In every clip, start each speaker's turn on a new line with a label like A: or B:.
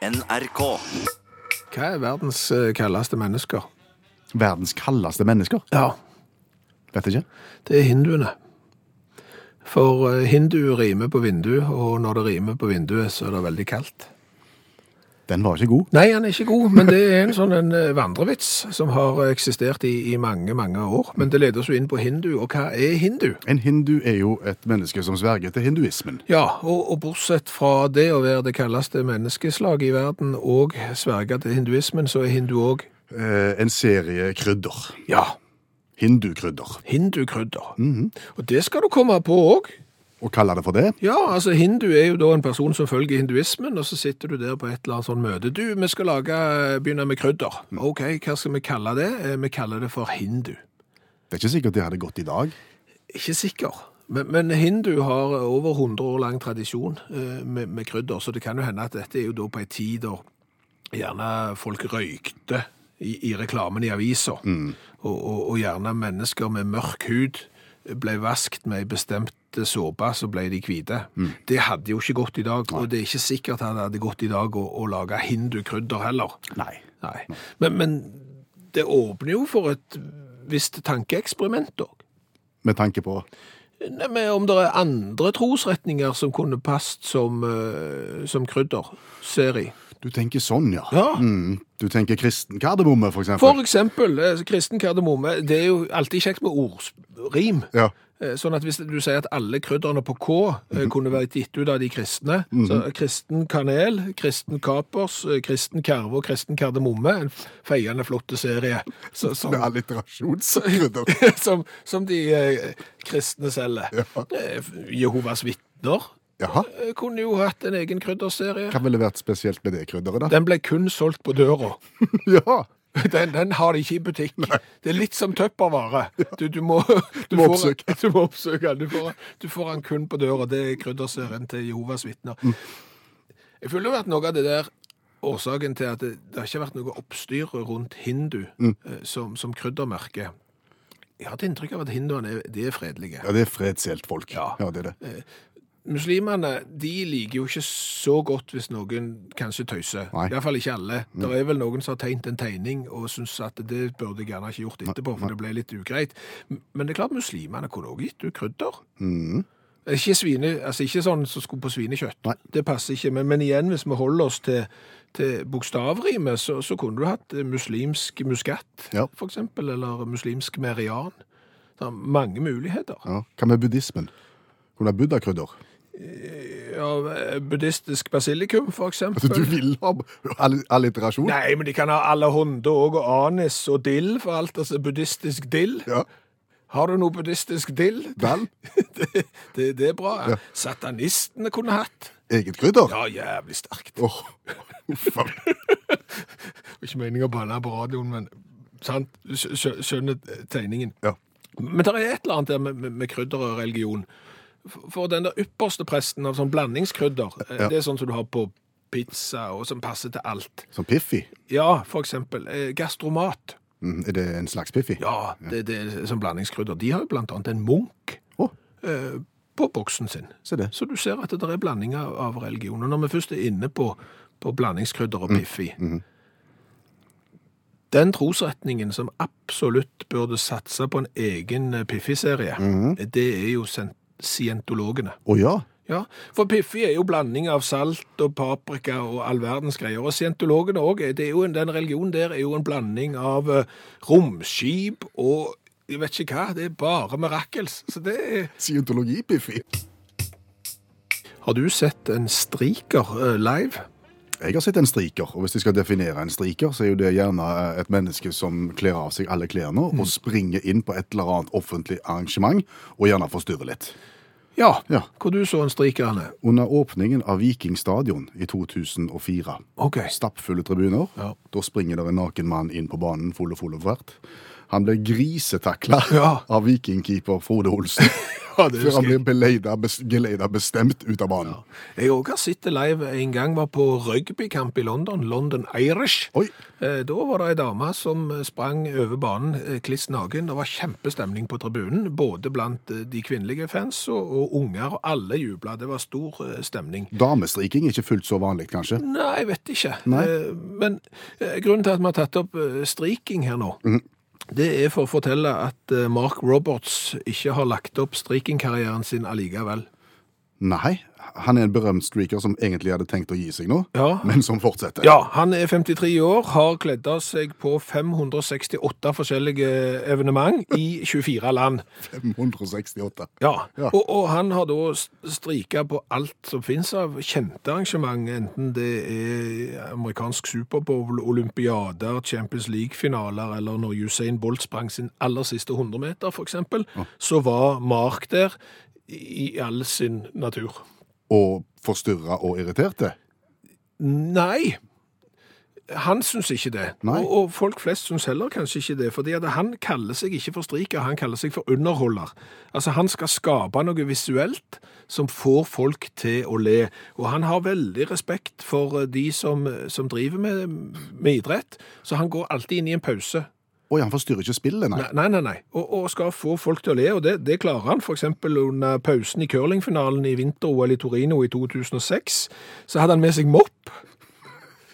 A: NRK.
B: Hva er verdens eh, kaldeste mennesker?
C: Verdens kaldeste mennesker.
B: Ja,
C: Vet ikke.
B: det er hinduene. For eh, hindu rimer på vindu, og når det rimer på vinduet, så er det veldig kaldt.
C: Den var ikke god.
B: Nei, han er ikke god, men det er en sånn en eh, vandrevits som har eh, eksistert i, i mange, mange år. Men det leder oss jo inn på hindu, og hva er hindu?
C: En hindu er jo et menneske som sverger til hinduismen.
B: Ja, og, og bortsett fra det å være det kaldeste menneskeslaget i verden og sverge til hinduismen, så er hindu òg
C: Eh, en serie krydder.
B: ja,
C: Hindukrydder.
B: hindukrydder. Og det skal du komme på òg.
C: Og kaller det for det.
B: Ja, altså hindu er jo da en person som følger hinduismen, og så sitter du der på et eller annet sånn møte. Du, vi skal lage, eh, begynne med krydder. Ok, hva skal vi kalle det? Eh, Vi kaller det for hindu.
C: Det er ikke sikkert det hadde gått i dag.
B: Ikke sikker. Men, men hindu har over 100 år lang tradisjon eh, med, med krydder, så det kan jo hende at dette er jo da på en tid da gjerne folk røykte i, i reklamen i aviser, og, og, og gjerne mennesker med mørk hud ble vaskt med en bestemt såpe, så ble de hvite. Det hadde jo ikke gått i dag, og det er ikke sikkert at det hadde gått i dag å, å lage hindukrydder heller.
C: Nei.
B: Nei. Men, men det åpner jo for et visst tankeeksperiment òg.
C: Med tanke på
B: Nei, men om det er andre trosretninger som kunne passet som, eh, som krydderserie.
C: Du tenker sånn, ja.
B: Ja.
C: Mm, du tenker kristen kardemomme, for eksempel.
B: For eksempel eh, kristen kardemomme. Det er jo alltid kjekt med ordrim.
C: Ja.
B: Eh, Sånn at hvis du sier at alle krydderne på K eh, kunne vært gitt ut av de kristne, så kristen kanel, kristen kapers, eh, kristen karve og kristen kardemomme, en feiende flotte serie så, som,
C: Med alliterasjonskrydder.
B: som, som de eh, kristne selger.
C: Ja.
B: Eh, Jehovas vitner
C: Jaha.
B: eh, kunne jo hatt en egen krydderserie.
C: Hva ville vært spesielt med det krydderet, da?
B: Den ble kun solgt på døra.
C: Ja.
B: Den, den har de ikke i butikk. Det er litt som tøppervare. Du, du må, du
C: Må
B: får-
C: oppsøke.
B: Du må oppsøke den. Du får, du får den kun på døra. Det er krydderserien til Jehovas vitner.
C: Mm.
B: Jeg føler jo at noe av det der årsaken til at det, det har ikke vært noe oppstyr rundt hindu
C: Mm.
B: eh, som, som kryddermerke. Jeg har et inntrykk av at hinduene er, de er fredelige.
C: Ja, det er fredshjelt folk.
B: Ja.
C: det er det.
B: Muslimene de liker jo ikke så godt hvis noen kanskje tøyser.
C: Nei. Mm.
B: Iallfall ikke alle. Det er vel noen som har tegnet en tegning og syns at det burde jeg gjerne ikke gjort etterpå, for det ble litt ugreit. M- Men det er klart muslimene kunne også gitt ut krydder. Ikke, svine, altså ikke sånn som skulle på svinekjøtt.
C: Mm. Nei.
B: Det passer ikke. Men, men igjen, hvis vi holder oss til, til bokstavrimet, så, så kunne du hatt eh, muslimsk muskat,
C: Ja.
B: for eksempel, eller muslimsk merian. Det er mange muligheter.
C: Ja. Hva med buddhismen? Kunne det ha krydder
B: Ja, eh, buddhistisk basilikum, for
C: Altså,
B: eksempel.
C: du vil ha all- alliterasjon?
B: Nei, men de kan ha alle hånder òg, og anis og dill for alt. Altså buddhistisk dill.
C: Ja.
B: Har du noe buddhistisk dill?
C: Vel,
B: det, det, det er bra.
C: Ja.
B: Satanistene kunne hatt.
C: eget krydder?
B: Ja, jævlig sterkt.
C: Åh, uff,
B: Ikke meningen å banne på radioen, men sant? Skjø- skjø- Skjønner tegningen.
C: ja.
B: Men det er et eller annet der med, med, med krydder og religion. For- For den der ypperste presten av sånn blandingskrydder, eh,
C: Ja.
B: det er sånn som du har på pizza, og som passer til alt.
C: Som Piffi?
B: Ja, for eksempel eh, gastromat.
C: Mm, er det en slags Piffi?
B: Ja, det, det er som blandingskrydder. De har jo blant annet en munk
C: Åh,
B: eh, på boksen sin.
C: se det.
B: Så du ser at det der er blandinger av religion. Og når vi først er inne på, på blandingskrydder og piffi Den trosretningen som absolutt burde satse på en egen eh, piffi-serie, det er jo sen- scientologene.
C: Å ja.
B: Ja, for Piffi er jo blanding av salt og paprika og all verdens greier. Og scientologene òg. Den religionen der er jo en blanding av eh, romskip og jeg vet ikke hva. Det er bare mirakels. Så det er
C: Scientologi-Piffi.
B: Har du sett en striker eh, live?
C: Jeg har sett en striker, og hvis jeg skal definere en striker, så er jo det gjerne eh, et menneske som kler av seg alle klærne
B: Mm.
C: og springer inn på et eller annet offentlig arrangement og gjerne forstyrrer litt.
B: Ja.
C: Ja.
B: Hvor du så en striker, Anne?
C: Under åpningen av Viking stadion i 2004,
B: OK.
C: stappfulle tribuner,
B: Ja.
C: da springer det en naken mann inn på banen full og full og hvert. Han ble grisetakla
B: Ja.
C: av vikingkeeper Frode Olsen.
B: Ja, det
C: Før han
B: husker jeg.
C: blir beleida, bes- geleida bestemt ut av banen.
B: Jeg òg har sett det live. En gang var på rugbykamp i London, London Irish.
C: Oi,
B: Eh, Da var det ei dame som eh, sprang over banen eh, kliss naken. Det var kjempestemning på tribunen, både blant eh, de kvinnelige fans og, og unger, og alle jubla. Det var stor eh, stemning.
C: damestriking er ikke fullt så vanlig, kanskje.
B: Nei, jeg vet ikke.
C: Nei.
B: Eh, Men eh, grunnen til at vi har tatt opp eh, striking her nå,
C: Mm.
B: det er for å fortelle at eh, Mark Roberts ikke har lagt opp strikingkarrieren sin allikevel.
C: Nei, han er en berømt streaker som egentlig hadde tenkt å gi seg nå,
B: Ja.
C: men som fortsetter.
B: Ja, han er 53 år, har kledd av seg på 568 forskjellige eh, evenement i 24 land.
C: 568.
B: Ja,
C: Ja.
B: Og, og han har da strika på alt som finnes av kjente arrangement, enten det er amerikansk Superbowl, olympiader, Champions League-finaler, eller når Usain Bolt sprang sin aller siste 100 meter, for eksempel, så var Mark der i all sin natur.
C: Og forstyrra og irriterte.
B: Nei, han syns ikke det.
C: Nei.
B: Og, og folk flest syns heller kanskje ikke det. fordi at han kaller seg ikke for striker, han kaller seg for underholder. Altså, Han skal skape noe visuelt som får folk til å le. Og han har veldig respekt for eh, de som, som driver med, med idrett, så han går alltid inn i en pause.
C: Oi, han forstyrrer ikke spillet, nei.
B: Nei, nei, nei. nei. Og, og skal få folk til å le, og det, det klarer han. For eksempel under pausen i curlingfinalen i vinter-OL i Torino i 2006, så hadde han med seg mopp.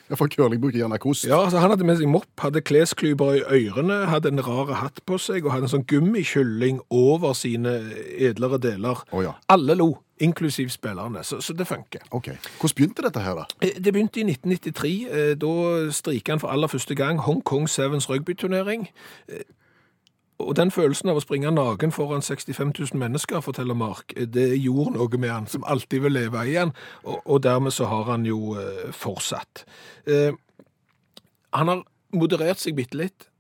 C: Ja, For curling bruker gjerne kost.
B: Ja, altså Han hadde med seg mopp, hadde klesklyper i ørene, hadde en rar hatt på seg og hadde en sånn gummikylling over sine edlere deler.
C: Å ja.
B: Alle lo, inklusiv spillerne, så, så det funker.
C: Ok. Hvordan begynte dette her, da?
B: Eh, Det begynte i 1993. eh, Da strika han for aller første gang Hongkong Sevens rugbyturnering. Eh, Og den følelsen av å springe naken foran 65 000 mennesker, forteller Mark, eh, det gjorde noe med han, som alltid vil leve i han, og, og dermed så har han jo eh, fortsatt. Eh, han har moderert seg bitte litt.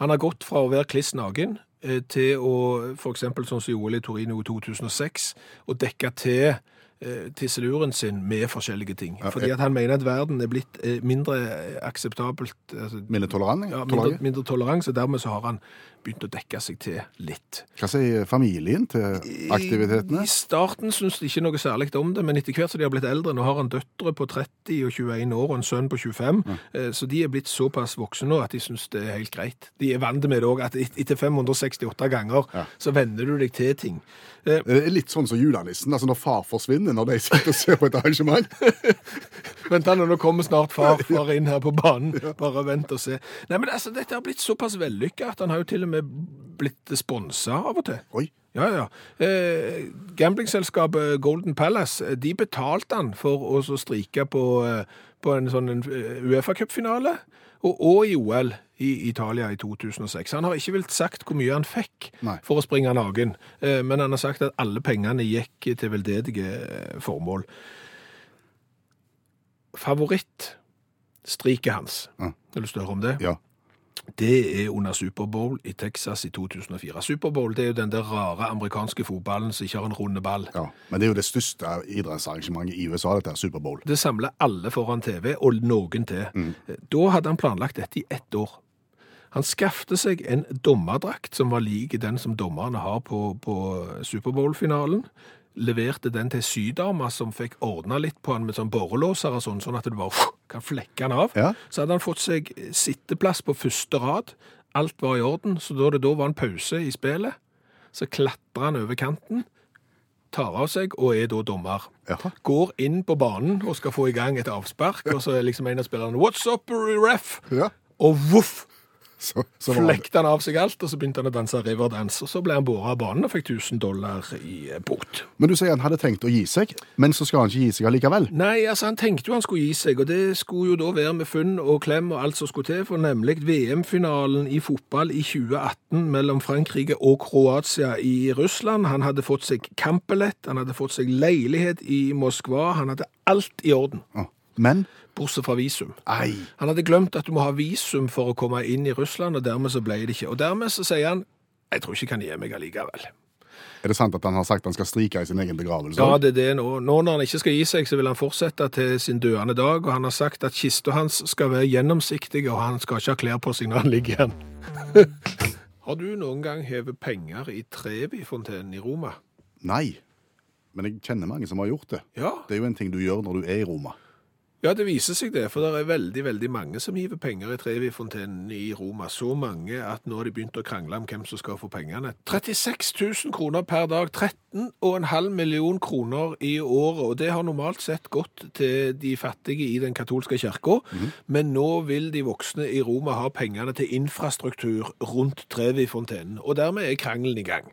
B: Han har gått fra å være kliss naken eh, til å, for eksempel sånn som i OL i Torino i 2006, å dekke til eh, tisseluren sin med forskjellige ting.
C: Ja,
B: Fordi
C: jeg-
B: at han mener at verden er blitt eh, mindre akseptabelt, altså,
C: Mine tolerant?
B: ja, mindre,
C: tolerant?
B: mindre toleranse, og dermed så har han begynt å dekke seg til litt.
C: Hva sier familien til aktivitetene?
B: I starten syntes de ikke noe særlig om det, men etter hvert som de har blitt eldre, nå har han døtre på 30 og 21 år og en sønn på 25, eh, så de er blitt såpass voksne nå at de syns det er helt greit. De er vant med det òg, at et- etter 568 ganger
C: Ja.
B: så venner du deg til ting. Eh,
C: Det er litt sånn som julenissen, altså når far forsvinner når de sitter og ser på et arrangement.
B: Vent da, nå, nå kommer snart far, far inn her på banen. Bare vent og se. Nei, men altså, dette har blitt såpass vellykka at han har jo til og med blitt sponsa av og til.
C: Oi,
B: Ja, ja. Eh, gamblingselskapet Golden Palace, eh, de betalte han for å så strike på, eh, på en sånn en, eh, UEFA-cupfinale, og, og i OL i Italia i 2006. Han har ikke vilt sagt hvor mye han fikk
C: Nei.
B: for å springe naken, eh, men han har sagt at alle pengene gikk til veldedige eh, formål. Favoritt striket hans.
C: Ja.
B: Har du lyst til å høre om det?
C: ja.
B: Det er under Superbowl i Texas i 2004. Superbowl det er jo den der rare amerikanske fotballen som ikke har en runde ball.
C: ja. Men det er jo det største idrettsarrangementet i USA, dette her Superbowl.
B: Det samler alle foran TV, og noen til. Eh, Da hadde han planlagt dette i ett år. Han skaffte seg en dommerdrakt som var lik den som dommerne har på, på Superbowl-finalen. Leverte den til sydama, som fikk ordna litt på han med sånn borrelåser og sånn, sånn at du bare kan flekke han av.
C: Ja.
B: Så hadde han fått seg sitteplass på første rad. Alt var i orden, så da det da var en pause i spillet, så klatrer han over kanten, tar av seg og er da dommer
C: Jaha.
B: går inn på banen og skal få i gang et avspark, og så er liksom en av spillerne What's up, ref?
C: Ja.
B: Og voff!
C: Så, så var det-
B: Flekte han av seg alt, og så begynte han å danse riverdance. Og så ble han båret av banen og fikk 1000 dollar i eh, bot.
C: Men du sier han hadde tenkt å gi seg, men så skal han ikke gi seg allikevel.
B: Nei, altså han tenkte jo han skulle gi seg, og det skulle jo da være med funn og klem og alt som skulle til, for nemlig VM-finalen i fotball i 2018 mellom Frankrike og Kroatia i Russland. Han hadde fått seg kampbillett, han hadde fått seg leilighet i Moskva, han hadde alt i orden,
C: Å, Men
B: bortsett fra visum.
C: Ei.
B: Han hadde glemt at du må ha visum for å komme inn i Russland, og dermed så ble det ikke. Og dermed så sier han jeg tror ikke jeg kan gi meg allikevel.
C: Er det sant at han har sagt han skal strike i sin egen begravelse?
B: Ja, det er det nå. Nå når han ikke skal gi seg, så vil han fortsette til sin døende dag, og han har sagt at kista hans skal være gjennomsiktig, og han skal ikke ha klær på seg når han ligger igjen. har du noen gang hevet penger i Trevi-fontenen i Roma?
C: Nei, men jeg kjenner mange som har gjort det.
B: Ja.
C: Det er jo en ting du gjør når du er i Roma.
B: ja, det viser seg det, for det er veldig, veldig mange som hiver penger i Trevi-fontenen i Roma. Så mange at nå har de begynt å krangle om hvem som skal få pengene. 36 000 kroner per dag, 13,5 million kroner i året, og det har normalt sett gått til de fattige i den katolske kirka, men nå vil de voksne i Roma ha pengene til infrastruktur rundt Trevi-fontenen, og dermed er krangelen i gang.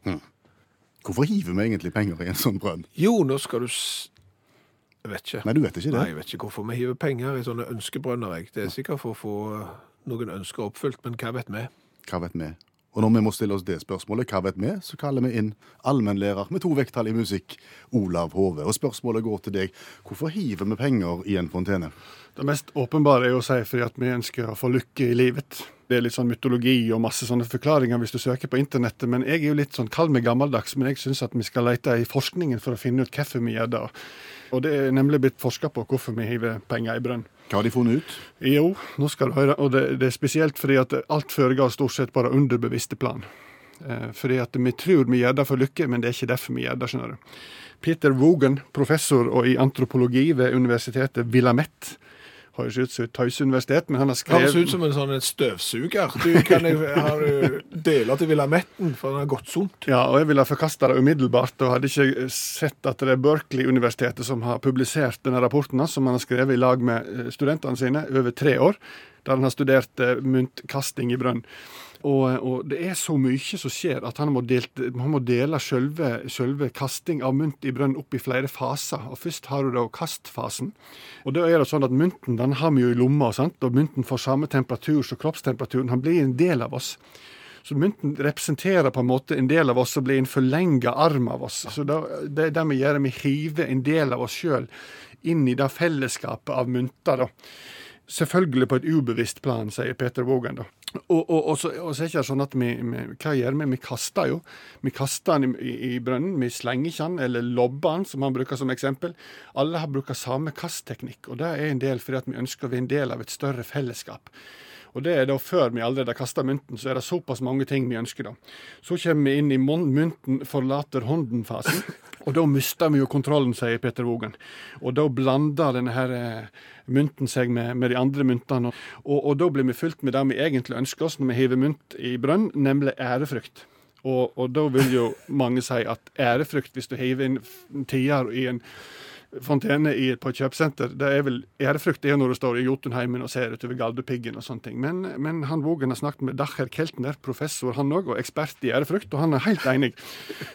C: Hvorfor hiver vi egentlig penger i en sånn brønn?
B: Jo, nå skal du s... Jeg vet ikke.
C: Nei, du vet ikke det.
B: Nei, jeg vet ikke hvorfor vi hiver penger i sånne ønskebrønner. Jeg. Det er sikkert for å få noen ønsker oppfylt, men hva vet vi?
C: Hva vet vi? Og når vi må stille oss det spørsmålet, hva vet vi, så kaller vi inn allmennlærer med to vekttall i musikk, Olav Hove. Og spørsmålet går til deg, hvorfor hiver vi penger i en fontene?
A: Det mest åpenbare er jo å si fordi at vi ønsker å få lykke i livet. Det er litt sånn mytologi og masse sånne forklaringer hvis du søker på internettet, men jeg er jo litt sånn kall meg gammeldags, men jeg syns at vi skal lete i forskningen for å finne ut hvorfor vi gjør det. Og det er nemlig blitt forska på hvorfor vi hiver penger i brønn.
C: Hva har de funnet ut?
A: Jo, nå skal du høre, og det, det er spesielt fordi at alt foregår stort sett bare under bevisste plan. Eh, fordi at vi tror vi gjør det for lykke, men det er ikke derfor vi gjør det, skjønner du. Peter Wogan, professor og i antropologi ved universitetet Villamette, høres ut som et tøyseuniversitet, men han har
B: Det høres
A: skrevet
B: ut som en sånn en støvsuger. Du kan jeg- har du deler til Villametten, for den har gått sunt.
A: Ja, og jeg ville ha forkasta det umiddelbart, og hadde ikke sett at det er Berkeley-universitetet som har publisert denne rapporten, som han har skrevet i lag med eh, studentene sine over tre år, der han har studert eh, myntkasting i brønn. Og, og det er så mye som skjer at han må, delt, han må dele selve, selve kasting av mynt i brønn opp i flere faser. Og Først har du da kastfasen. Og da er det sånn at Mynten den har vi jo i lomma, sant? og mynten får samme temperatur som kroppstemperaturen. Han blir en del av oss. Så mynten representerer på en måte en del av oss som blir en forlenga arm av oss. Så da, det er det vi gjør, vi hiver en del av oss sjøl inn i det fellesskapet av mynter, da. Selvfølgelig på et ubevisst plan, sier Peter Wogan, da. Og, og, og, så, og så er det ikke sånn at vi, vi Hva gjør vi? Vi kaster jo. Vi kaster den i, i brønnen. Vi slenger ikke den, eller lobber den, som han bruker som eksempel. Alle har brukt samme kastteknikk, og det er en del fordi at vi ønsker å være en del av et større fellesskap. Og det er da før vi allerede har kasta mynten, så er det såpass mange ting vi ønsker, da. Så kommer vi inn i mon- mynten forlater hånden-fasen. Og da mister vi jo kontrollen, sier Peter Wogan. Og da blander denne her eh, mynten seg med, med de andre myntene. Og, og da blir vi fylt med det vi egentlig ønsker oss når vi hiver mynt i brønn, nemlig ærefrykt. Og, og da vil jo mange si at ærefrykt, hvis du hiver inn f- en tier i en fontene i, på et kjøpesenter, det er vel ærefrukt det er når du står i Jotunheimen og ser utover Galdhøpiggen og sånne ting. Men, men han Vågen har snakket med Dacher Keltner, professor han òg, og ekspert i ærefrukt, og han er helt enig.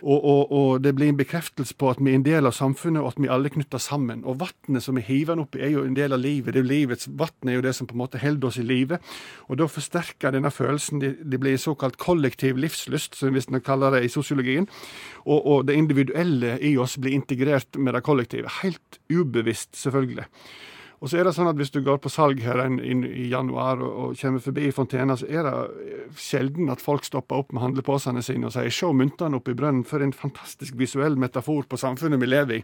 A: Og, og, og det blir en bekreftelse på at vi er en del av samfunnet, og at vi alle er knytta sammen. Og vannet som vi hiver den opp i, er jo en del av livet. Det er jo livets Vannet er jo det som på en måte holder oss i live. Og da forsterker denne følelsen Det, det blir såkalt kollektiv livslyst, som hvis man kaller det i sosiologien. Og, og det individuelle i oss blir integrert med det kollektive. Helt ubevisst, selvfølgelig. Og så er det sånn at Hvis du går på salg her en, inn i januar og, og kommer forbi fontena, så er det eh, sjelden at folk stopper opp med handleposene sine og sier 'se myntene oppi brønnen', for en fantastisk visuell metafor på samfunnet vi lever i.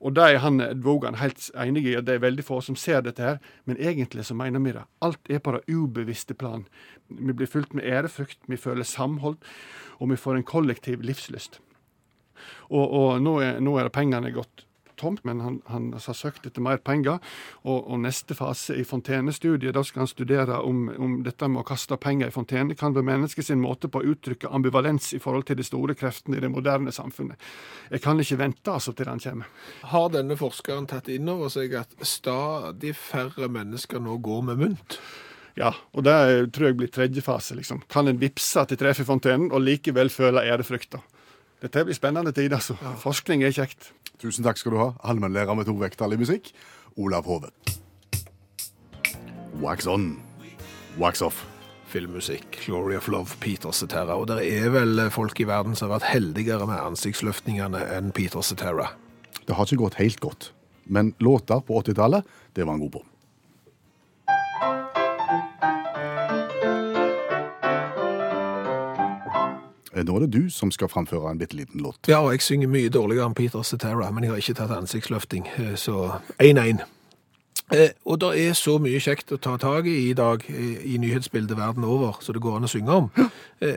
A: Og det er han eh, Vågan helt enig i, at det er veldig få som ser dette her, men egentlig så mener vi det. Alt er på det ubevisste plan. Vi blir fylt med ærefrykt, vi føler samhold, og vi får en kollektiv livslyst. Og, og nå, er, nå er det pengene gått tomt, men han, han altså har søkt etter mer penger. Og, og neste fase i fontenestudiet, da skal han studere om, om dette med å kaste penger i fontene kan være menneskets måte på å uttrykke ambivalens i forhold til de store kreftene i det moderne samfunnet. Jeg kan ikke vente altså til han kommer.
B: Har denne forskeren tatt inn over seg at stadig færre mennesker nå går med mynt?
A: Ja, og det er- tror jeg blir tredje fase, liksom. Kan en vippse til treffet i fontenen og likevel føle ærefrykta? Dette blir spennende tider, altså. Forskning er kjekt.
C: Tusen takk skal du ha, allmennlærer med to vekttall i musikk, Olav Hove. Wax on, wax off.
B: Filmmusikk, Glory of Love, Peter Cetera. Og det er vel folk i verden som har vært heldigere med ansiktsløftningene enn Peter Cetera.
C: Det har ikke gått helt godt, men låter på 80-tallet, det var han god på. Eh, Nå er det du som skal framføre en bitte liten låt.
B: Ja, og jeg synger mye dårligere enn Peter Cetera, men jeg har ikke tatt ansiktsløfting, så 1-1. Eh, Og det er så mye kjekt å ta tak i i dag eh, i nyhetsbildet verden over, så det går an å synge om. Eh,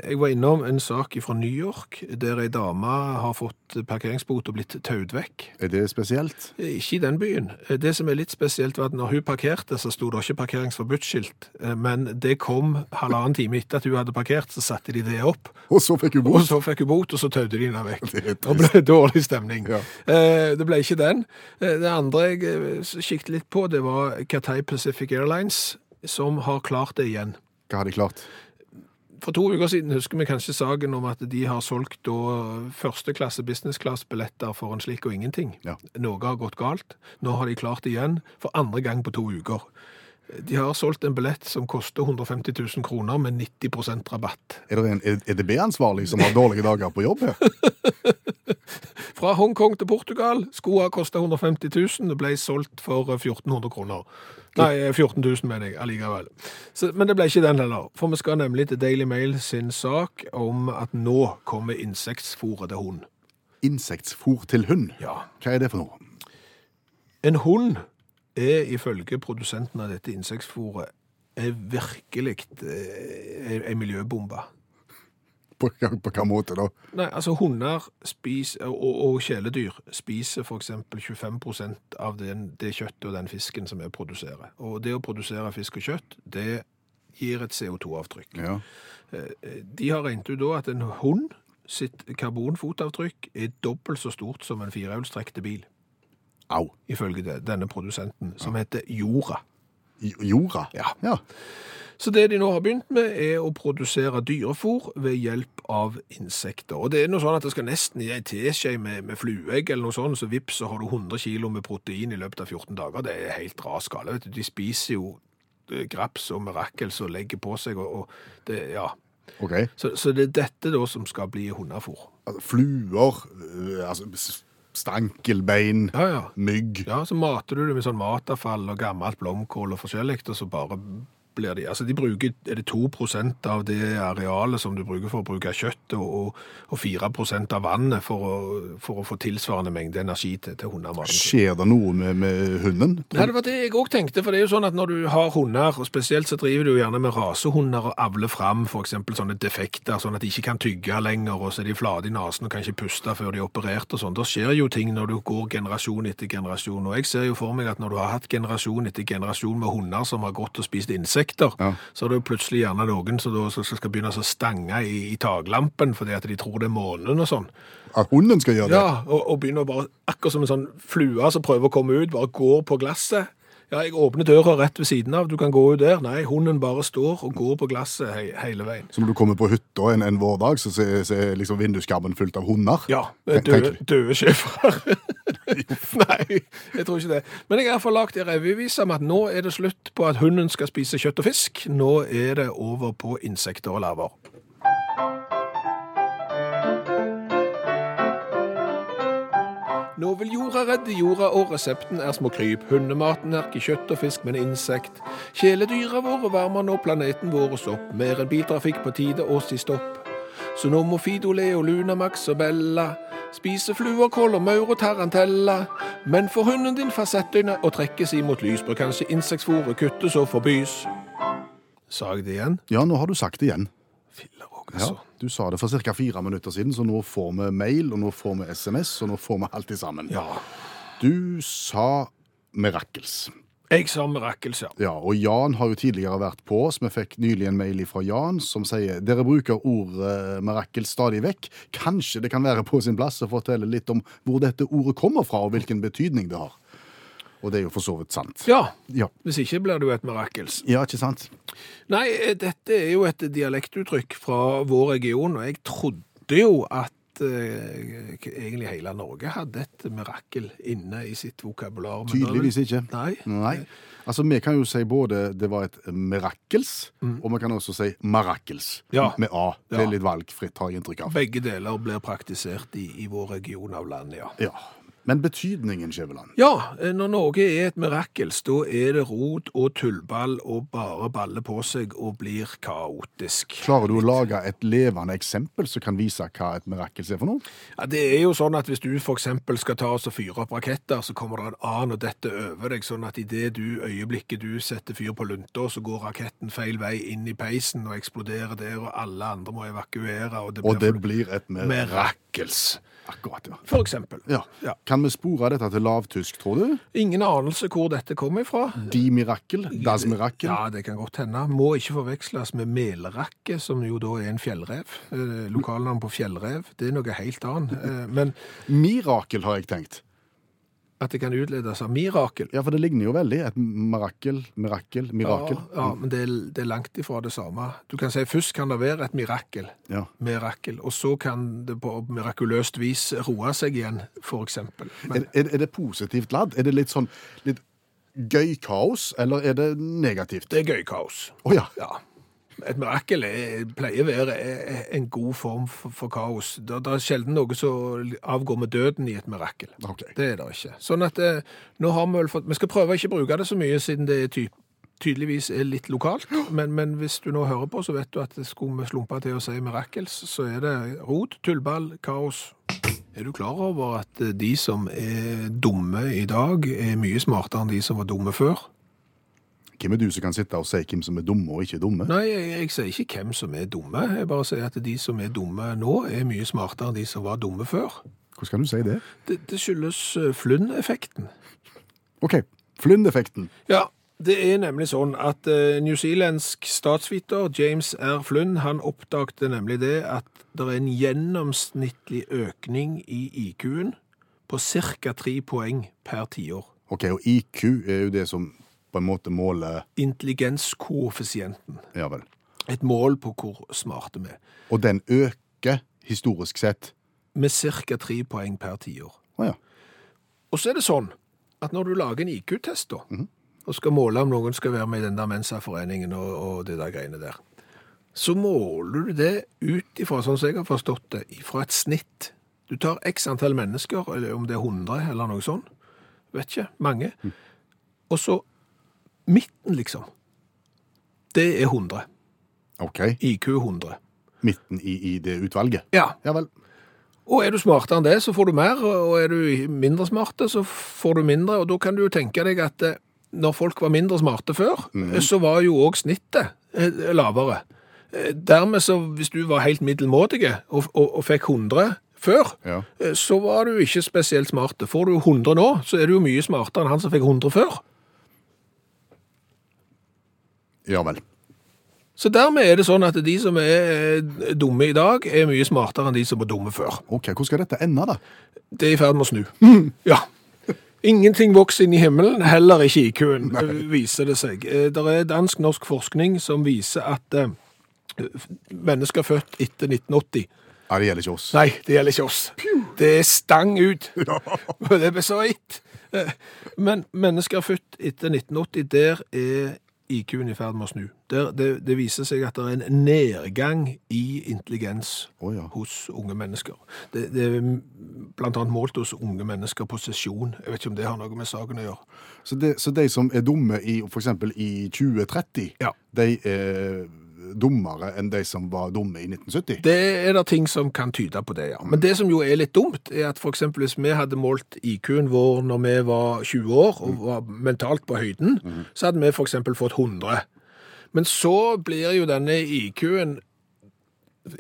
B: Jeg var innom en sak fra New York, der ei dame har fått parkeringsbot og blitt tauet vekk.
C: Er det spesielt?
B: Eh, Ikke i den byen. Eh, Det som er litt spesielt, var at når hun parkerte, så sto det ikke parkeringsforbudt-skilt, eh, men det kom halvannen time etter at hun hadde parkert, så satte de det opp.
C: Og så fikk hun
B: Og
C: bot.
B: så fikk hun bot, og så tøvde de henne vekk.
C: Det er
B: Det
C: trist.
B: ble dårlig stemning.
C: Ja.
B: Eh, Det ble ikke den. Eh, Det andre jeg eh, kikket litt på, det var Cathay Pacific Airlines, som har klart det igjen.
C: Hva har de klart?
B: For to uker siden husker vi kanskje saken om at de har solgt da førsteklasse businessklassebilletter for en slikk og ingenting.
C: Ja.
B: Noe har gått galt. Nå har de klart det igjen for andre gang på to uker. De har solgt en billett som koster 150 000 kroner med 90 rabatt.
C: Er det en E- EDB-ansvarlig som har dårlige dager på jobb? her?
B: Fra Hongkong til Portugal skulle ha kosta 150 000, det ble solgt for 1400 kroner. Nei, 14 000 mener jeg allikevel. Så, men det ble ikke den heller. For vi skal nemlig til Daily Mail sin sak om at nå kommer insektfôret til hund.
C: Insektfôr til hund.
B: Ja.
C: Hva er det for noe?
B: En hund er ifølge produsenten av dette insektfôret er virkelig eh, en miljøbombe.
C: På, på hva måte da?
B: Nei, altså hunder spiser, og, og kjeledyr spiser for eksempel 25 av den, det kjøttet og den fisken som vi produserer. Og det å produsere fisk og kjøtt, det gir et CO2-avtrykk.
C: Ja.
B: Eh, De har regnet ut da at en hund sitt karbonfotavtrykk er dobbelt så stort som en firehjulstrekte bil,
C: Au.
B: ifølge det, denne produsenten, som heter Jorda.
C: J- Jorda?
B: Ja.
C: ja.
B: Så det de nå har begynt med, er å produsere dyrefôr ved hjelp av insekter. Og det er noe sånn at det skal nesten i ei teskje med, med flueegg eller noe sånt, så vips, så har du 100 kilo med protein i løpet av 14 dager. Det er helt ras gale. Vet du, de spiser jo eh, graps og mirakels og legger på seg, og, og det, ja.
C: OK.
B: Så, så det er dette da som skal bli hundefôr.
C: Altså, fluer, øh, altså, s- stankelbein,
B: Ja, ja.
C: mygg
B: Ja, så mater du det med sånn matavfall og gammelt blomkål og forskjellig, og så bare blir de Altså, de bruker Er det 2 av det arealet som du bruker for å bruke kjøtt, og, og, og 4 av vannet for å, for å få tilsvarende mengde energi til, til hundematen? sin?
C: Skjer det noe med, med hunden?
B: Nei, det var det jeg òg tenkte. For det er jo sånn at når du har hunder, og spesielt så driver du jo gjerne med rasehunder og avler fram f.eks. sånne defekter, sånn at de ikke kan tygge lenger, og så er de flate i nesen og kan ikke puste før de er operert og sånn. Da skjer jo ting når du går generasjon etter generasjon. Og jeg ser jo for meg at når du har hatt generasjon etter generasjon med hunder som har gått og spist insekter,
C: Ja.
B: så er det jo plutselig gjerne noen som da som skal begynne å stange i, i taklampen fordi at de tror det er månen og sånn.
C: At hunden skal gjøre det?
B: Ja, og, og begynner å bare, akkurat som en sånn flue som prøver å komme ut, bare går på glasset. Ja, jeg åpner døra rett ved siden av, du kan gå ut der. Nei, hunden bare står og går på glasset he hele veien.
C: Så når du kommer på hytta en, en vårdag, så ser- ser liksom vinduskarmen fullt av hunder?
B: Ja,
C: Ten-
B: døde,
C: tenker du,
B: døde schæfere. Nei, jeg tror ikke det. Men jeg har iallfall lagd en revyvise om at nå er det slutt på at hunden skal spise kjøtt og fisk. Nå er det over på insekter og larver. Nå vil jorda redde jorda, og resepten er små kryp. Hundematen er ikke kjøtt og fisk, men insekt. Kjæledyra våre varmer nå planeten vår oss opp. Mer enn biltrafikk på tide å si stopp. Så nå må Fido, Leo, Luna, Max og Bella spise fluorkål og maur og tarantella. Men får hunden din fasettøyne og trekkes imot lys, bør kanskje insektfôret kuttes og forbys. Sa jeg det igjen?
C: Ja, nå har du sagt det igjen.
B: Filler òg,
C: Ja,
B: altså.
C: du sa det for ca. fire minutter siden, så nå får vi mail, og nå får vi SMS, og nå får vi alt i sammen.
B: Ja.
C: Du sa Mirakels.
B: Jeg sa mirakels, ja.
C: Ja, og Jan har jo tidligere vært på oss. Vi fikk nylig en mail fra Jan som sier dere bruker ordet mirakel stadig vekk. Kanskje det kan være på sin plass å fortelle litt om hvor dette ordet kommer fra, og hvilken betydning det har. Og det er jo for så vidt sant.
B: Ja.
C: Ja,
B: Hvis ikke blir det jo et mirakels.
C: ja ikke sant?
B: Nei, eh, dette er jo et dialektuttrykk fra vår region, og jeg trodde jo at eh, k- egentlig hele Norge hadde et mirakel inne i sitt vokabular. men da er vel-
C: Tydeligvis ikke.
B: Nei.
C: Nei. Altså, Vi kan jo si både det var et mirakels, og vi kan også si marakels
B: Ja.
C: med A. Det
B: Ja.
C: er litt valgfritt, har jeg inntrykk av.
B: Begge deler blir praktisert i, i vår region av landet, ja.
C: Ja. Men betydningen, Skjæveland
B: Ja, eh, når noe er et mirakels, da er det rot og tullball og bare baller på seg og blir kaotisk.
C: Klarer du å lage et levende eksempel som kan vise hva et mirakel er for noe?
B: Ja, det er jo sånn at hvis du for eksempel skal ta oss og fyre opp raketter, så kommer det en annen og dette over deg, sånn at i det du, øyeblikket du setter fyr på lunta, så går raketten feil vei inn i peisen og eksploderer der, og alle andre må evakuere, og det blir
C: Og det blir et
B: for-
C: mirakel.
B: mirakels.
C: Akkurat, ja.
B: For eksempel.
C: ja.
B: Ja.
C: Kan vi spore dette til lavtysk, tror du?
B: Ingen anelse hvor dette kommer ifra.
C: De mirakel? Das mirakel?
B: Ja, det kan godt hende. Må ikke forveksles med melrakke, som jo da er en fjellrev. Eh, Lokalnavn på fjellrev, det er noe helt annet. Eh, Men
C: Mirakel, har jeg tenkt.
B: at det kan utledes av mirakel,
C: Ja, for det ligner jo veldig. Et mirakel, mirakel, mirakel.
B: Ja, ja men det er, det er langt ifra det samme. Du kan si først kan det være et mirakel,
C: Ja.
B: mirakel, og så kan det på mirakuløst vis roe seg igjen, for eksempel. Men,
C: Er, er, er det positivt ladd? Er det litt sånn litt gøy kaos, eller er det negativt?
B: det er gøy kaos.
C: Å ja.
B: Ja. Et mirakel er, pleier å være e- en god form for, for kaos. Det, det er sjelden noe som avgår med døden i et mirakel.
C: Ok.
B: Det er det ikke. Sånn at eh, nå har vi vel fått Vi skal prøve å ikke bruke det så mye, siden det er ty tydeligvis er litt lokalt. Men, men hvis du nå hører på, så vet du at det skulle vi slumpe til å si mirakels, så er det rot, tullball, kaos. Er du klar over at eh, de som er dumme i dag, er mye smartere enn de som var dumme før?
C: Hvem er du som kan sitte og si hvem som er dumme og ikke dumme?
B: Nei, jeg, jeg sier ikke hvem som er dumme. Jeg bare sier at de som er dumme nå, er mye smartere enn de som var dumme før.
C: Hvordan kan du si det?
B: Det, det skyldes eh, Flynn-effekten.
C: OK. Flynn-effekten.
B: Ja, det er nemlig sånn at eh, newzealandsk statsviter James R. Flynn han oppdagte nemlig det at det er en gjennomsnittlig økning i IQ-en på ca. tre poeng per tiår.
C: OK, og IQ er jo det som på en måte måler
B: Intelligenskoeffisienten.
C: Ja vel.
B: Et mål på hvor smarte vi er.
C: Og den øker historisk sett.
B: Med ca. tre poeng per tiår.
C: Å ja.
B: Og så er det sånn at når du lager en IQ-test da, og skal måle om noen skal være med i den der Mensa-foreningen og, og det der greiene der, så måler du det ut ifra, sånn som jeg har forstått det, ifra et snitt. Du tar x antall mennesker, eller om det er 100 eller noe sånt, vet ikke, mange, og så midten liksom, det er 100,
C: OK.
B: IQ 100.
C: Midten i, i det utvalget.
B: Ja,
C: Ja vel.
B: Og er du smartere enn det, så får du mer, og er du mindre smarte, så får du mindre, og da kan du jo tenke deg at eh, når folk var mindre smarte før, eh, så var jo òg snittet eh, lavere. Eh, Dermed så, hvis du var helt middelmådige og, og, og fikk 100 før,
C: Ja.
B: eh, så var du ikke spesielt smarte. Får du 100 nå, så er du jo mye smartere enn han som fikk 100 før.
C: Ja vel.
B: Så dermed er det sånn at de som er eh, dumme i dag, er mye smartere enn de som var dumme før.
C: OK, hvor skal dette ende, da?
B: Det er i ferd med å snu. Ja. Ingenting vokser inn i himmelen, heller ikke IQ-en, viser det seg. Det er dansk-norsk forskning som viser at eh, f- mennesker født etter 1980
C: Ja, det gjelder ikke oss.
B: Nei, det gjelder ikke oss. Det er stang ut. Og det er så vidt. Eh, Men mennesker født etter 1980, der er IQ-en i ferd med å snu. Der, det, det viser seg at det er en nedgang i intelligens
C: Å ja.
B: hos unge mennesker. Det, det er blant annet målt hos unge mennesker på sesjon. Jeg vet ikke om det har noe med saken å gjøre.
C: Så, det, så de som er dumme i f.eks. i 2030,
B: Ja.
C: de er dummere enn de som var dumme i 1970?
B: Det er det ting som kan tyde på det, ja. Men det som jo er litt dumt, er at for eksempel hvis vi hadde målt IQ-en vår når vi var 20 år og var mentalt på høyden, så hadde vi for eksempel fått 100. Men så blir jo denne IQ-en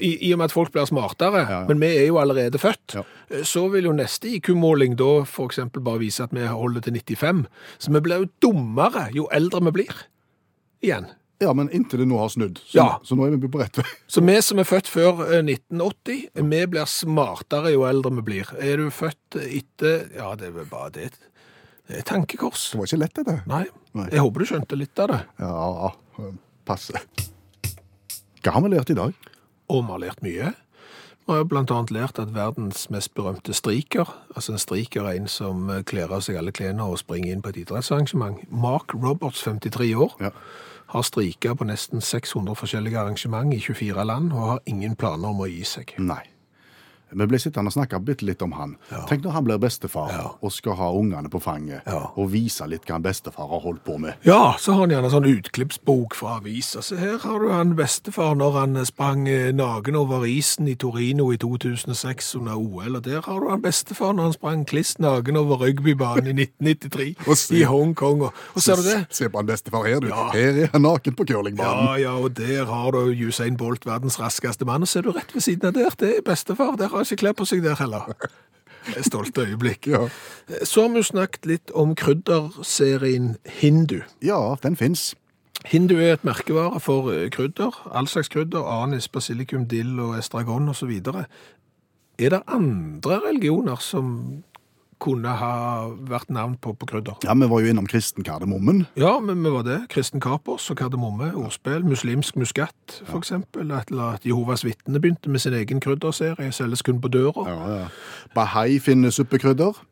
B: i, I og med at folk blir smartere, men vi er jo allerede født, så vil jo neste IQ-måling da f.eks. bare vise at vi holder til 95. Så vi blir jo dummere jo eldre vi blir. Igjen.
C: Ja, men inntil det nå har snudd. Så,
B: Ja.
C: så nå er vi på rett vei.
B: Så vi som er født før eh, 1980, vi blir smartere jo eldre vi blir. Er du født etter Ja, det er vel bare det. Det er et tankekors.
C: Det var ikke lett, dette.
B: Nei.
C: Nei.
B: Jeg håper du skjønte litt av det.
C: Ja, passe. Hva har vi lært i dag?
B: Og vi har lært mye. Vi har blant annet lært at verdens mest berømte striker, altså en striker er en som eh, kler av seg alle klærne og springer inn på et idrettsarrangement, Mark Roberts, 53 år,
C: Ja.
B: har strika på nesten 600 forskjellige arrangement i 24 land, og har ingen planer om å gi seg.
C: Nei. Vi ble sittende og snakke bitte litt om han. Tenk når han blir bestefar
B: Ja.
C: og skal ha ungene på fanget
B: Ja.
C: og vise litt hva han bestefar har holdt på med.
B: Ja, så har han gjerne sånn utklippsbok fra aviser. Så her har du han bestefar når han sprang eh, naken over isen i Torino i 2006 under OL. Og der har du han bestefar når han sprang kliss naken over rugbybanen i 1993
C: Og se-
B: i Hongkong. Og, og ser du det?
C: Se på han bestefar her, du.
B: Ja.
C: Her er han naken på curlingbanen.
B: Ja, ja, og der har du Usain Bolt, verdens raskeste mann. Og ser du rett ved siden av der, det er bestefar. Der har han ikke klær på seg der heller. Det er Stolte øyeblikk.
C: Ja.
B: Så har vi jo snakket litt om krydderserien Hindu.
C: ja, den fins.
B: Hindu er et merkevare for eh, krydder, all slags krydder, anis, basilikum, dill og estragon osv. Er det andre religioner som kunne ha vært navn på, på krydder?
C: Ja, vi var jo innom kristenkardemommen.
B: Ja, men vi var det. Kristen kapers og kardemomme, ordspill, muslimsk muskat for eksempel. At, eller at Jehovas vitne begynte med sin egen krydderserie, selges kun på døra.
C: Ja, ja. Bahai finner suppekrydder.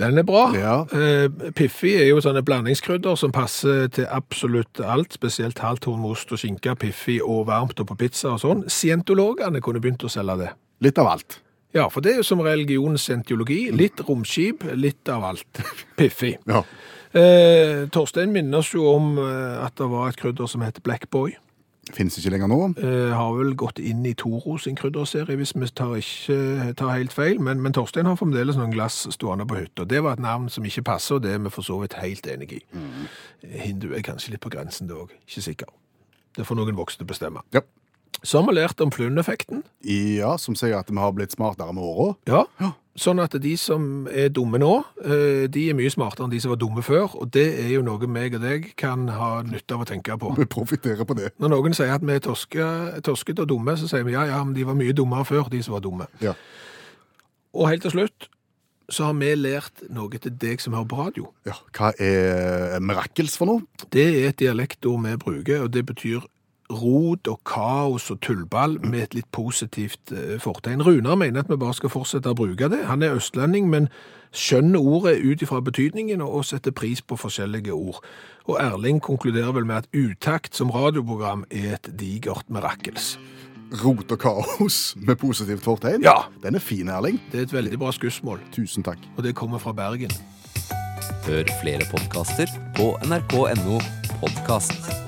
B: Den er bra.
C: Ja.
B: Eh, Piffi er jo sånne blandingskrydder som passer til absolutt alt, spesielt halvtorn med ost og skinke, piffi og varmt og på pizza og sånn. Scientologene kunne begynt å selge det.
C: Litt av alt.
B: Ja, for det er jo som religionens scientologi. Litt romskip, litt av alt. Piffi.
C: Ja.
B: Eh, Torstein minner oss jo om eh, at det var et krydder som heter Black Boy.
C: Fins ikke lenger nå.
B: eh, har vel gått inn i Toro sin krydderserie, hvis vi tar, ikke, tar helt feil. Men, men Torstein har fremdeles noen glass stående på hytta. Det var et navn som ikke passer, og det er vi for så vidt helt enig i. Eh, Hindu er kanskje litt på grensen, det òg. Ikke sikker. Det får noen voksne bestemme.
C: Ja.
B: Så har vi lært om flundeffekten.
C: ja, som sier at vi har blitt smartere med åra.
B: Ja.
C: Ja.
B: Sånn at de som er dumme nå, eh, de er mye smartere enn de som var dumme før. Og det er jo noe meg og deg kan ha nytte av å tenke på.
C: Vi profitterer på det.
B: Når noen sier at vi er torske, torsket og dumme, så sier vi ja, ja, men de var mye dummere før, de som var dumme.
C: Ja.
B: Og helt til slutt så har vi lært noe til deg som hører på radio.
C: ja. Hva er mirakels for noe?
B: Det er et dialektord vi bruker, og det betyr rot og kaos og tullball med et litt positivt eh, fortegn. Runar mener at vi bare skal fortsette å bruke det. Han er østlending, men skjønner ordet ut ifra betydningen og og setter pris på forskjellige ord. Og Erling konkluderer vel med at utakt som radioprogram er et digert mirakels.
C: Rot og kaos med positivt fortegn?
B: Ja.
C: Den er fin, Erling.
B: Det er et veldig bra skussmål,
C: Tusen takk.
B: og det kommer fra Bergen.
D: Hør flere podkaster på nrk.no podkast.